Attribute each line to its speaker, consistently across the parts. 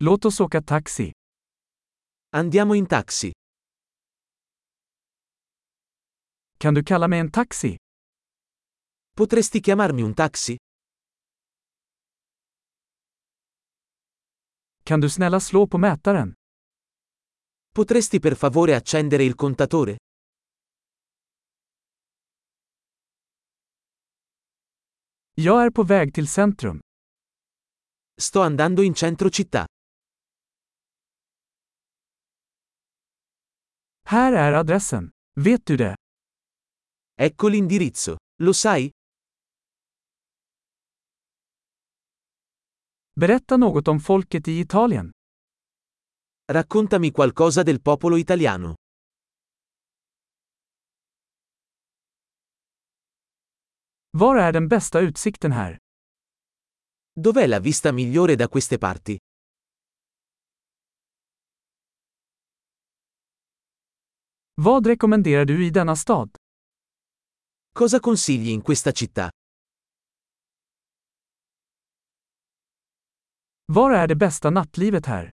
Speaker 1: Låt oss åka taxi.
Speaker 2: Andiamo in taxi.
Speaker 1: Kan du kalla mig en taxi?
Speaker 2: Potresti chiamarmi un taxi?
Speaker 1: Kan du snälla slå på mätaren?
Speaker 2: Potresti per favore accendere il contatore?
Speaker 1: Jag är på väg till centrum.
Speaker 2: Sto andando in centro città.
Speaker 1: Här är adressen. Vet du det?
Speaker 2: Ecco l'indirizzo. Lo sai?
Speaker 1: Berätta något om folket i Italien.
Speaker 2: Raccontami qualcosa del popolo italiano.
Speaker 1: Var är den bästa utsikten här?
Speaker 2: Dov'è la vista migliore da queste parti?
Speaker 1: Vad rekommenderar du i denna stad?
Speaker 2: Cosa consigli in questa città?
Speaker 1: Var är det bästa nattlivet här?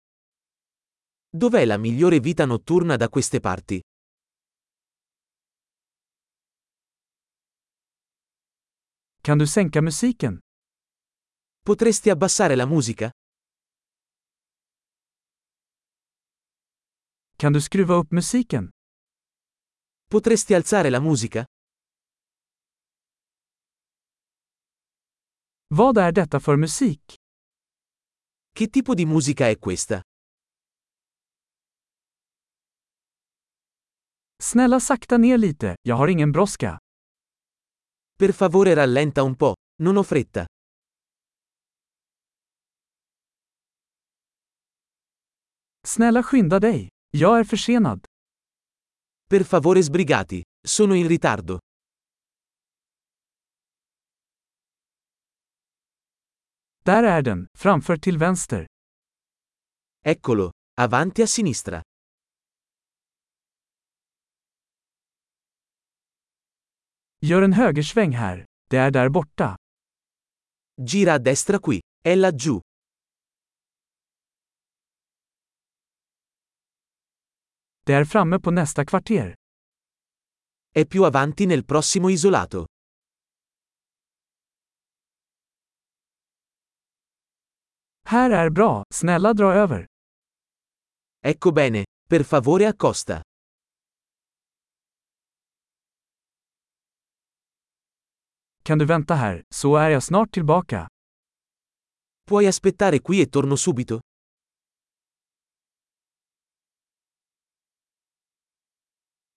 Speaker 2: Dov'è la migliore vita notturna da queste parti?
Speaker 1: Kan du sänka musiken?
Speaker 2: Potresti abbassare la musica?
Speaker 1: Kan du skruva upp musiken?
Speaker 2: Potresti alzare la musica?
Speaker 1: Vad är detta för musik?
Speaker 2: Che tipo di musica è questa?
Speaker 1: Snälla sakta ner lite, jag har ingen brådska.
Speaker 2: Per favore rallenta un po', non ho fretta.
Speaker 1: Snälla skynda dig. Jag är försenad.
Speaker 2: Per favore sbrigati, sono in ritardo.
Speaker 1: Där är den, framför till vänster.
Speaker 2: Eccolo, avanti a sinistra.
Speaker 1: Gör en högersväng här. Det är där borta.
Speaker 2: Gira a destra qui, è laggiù.
Speaker 1: Det är framme på nästa kvarter.
Speaker 2: È più avanti nel prossimo isolato.
Speaker 1: Här är bra, snälla dra över.
Speaker 2: Ecco bene, per favore accosta.
Speaker 1: Kan du vänta här, så är jag snart tillbaka.
Speaker 2: Puoi aspettare qui e torno subito?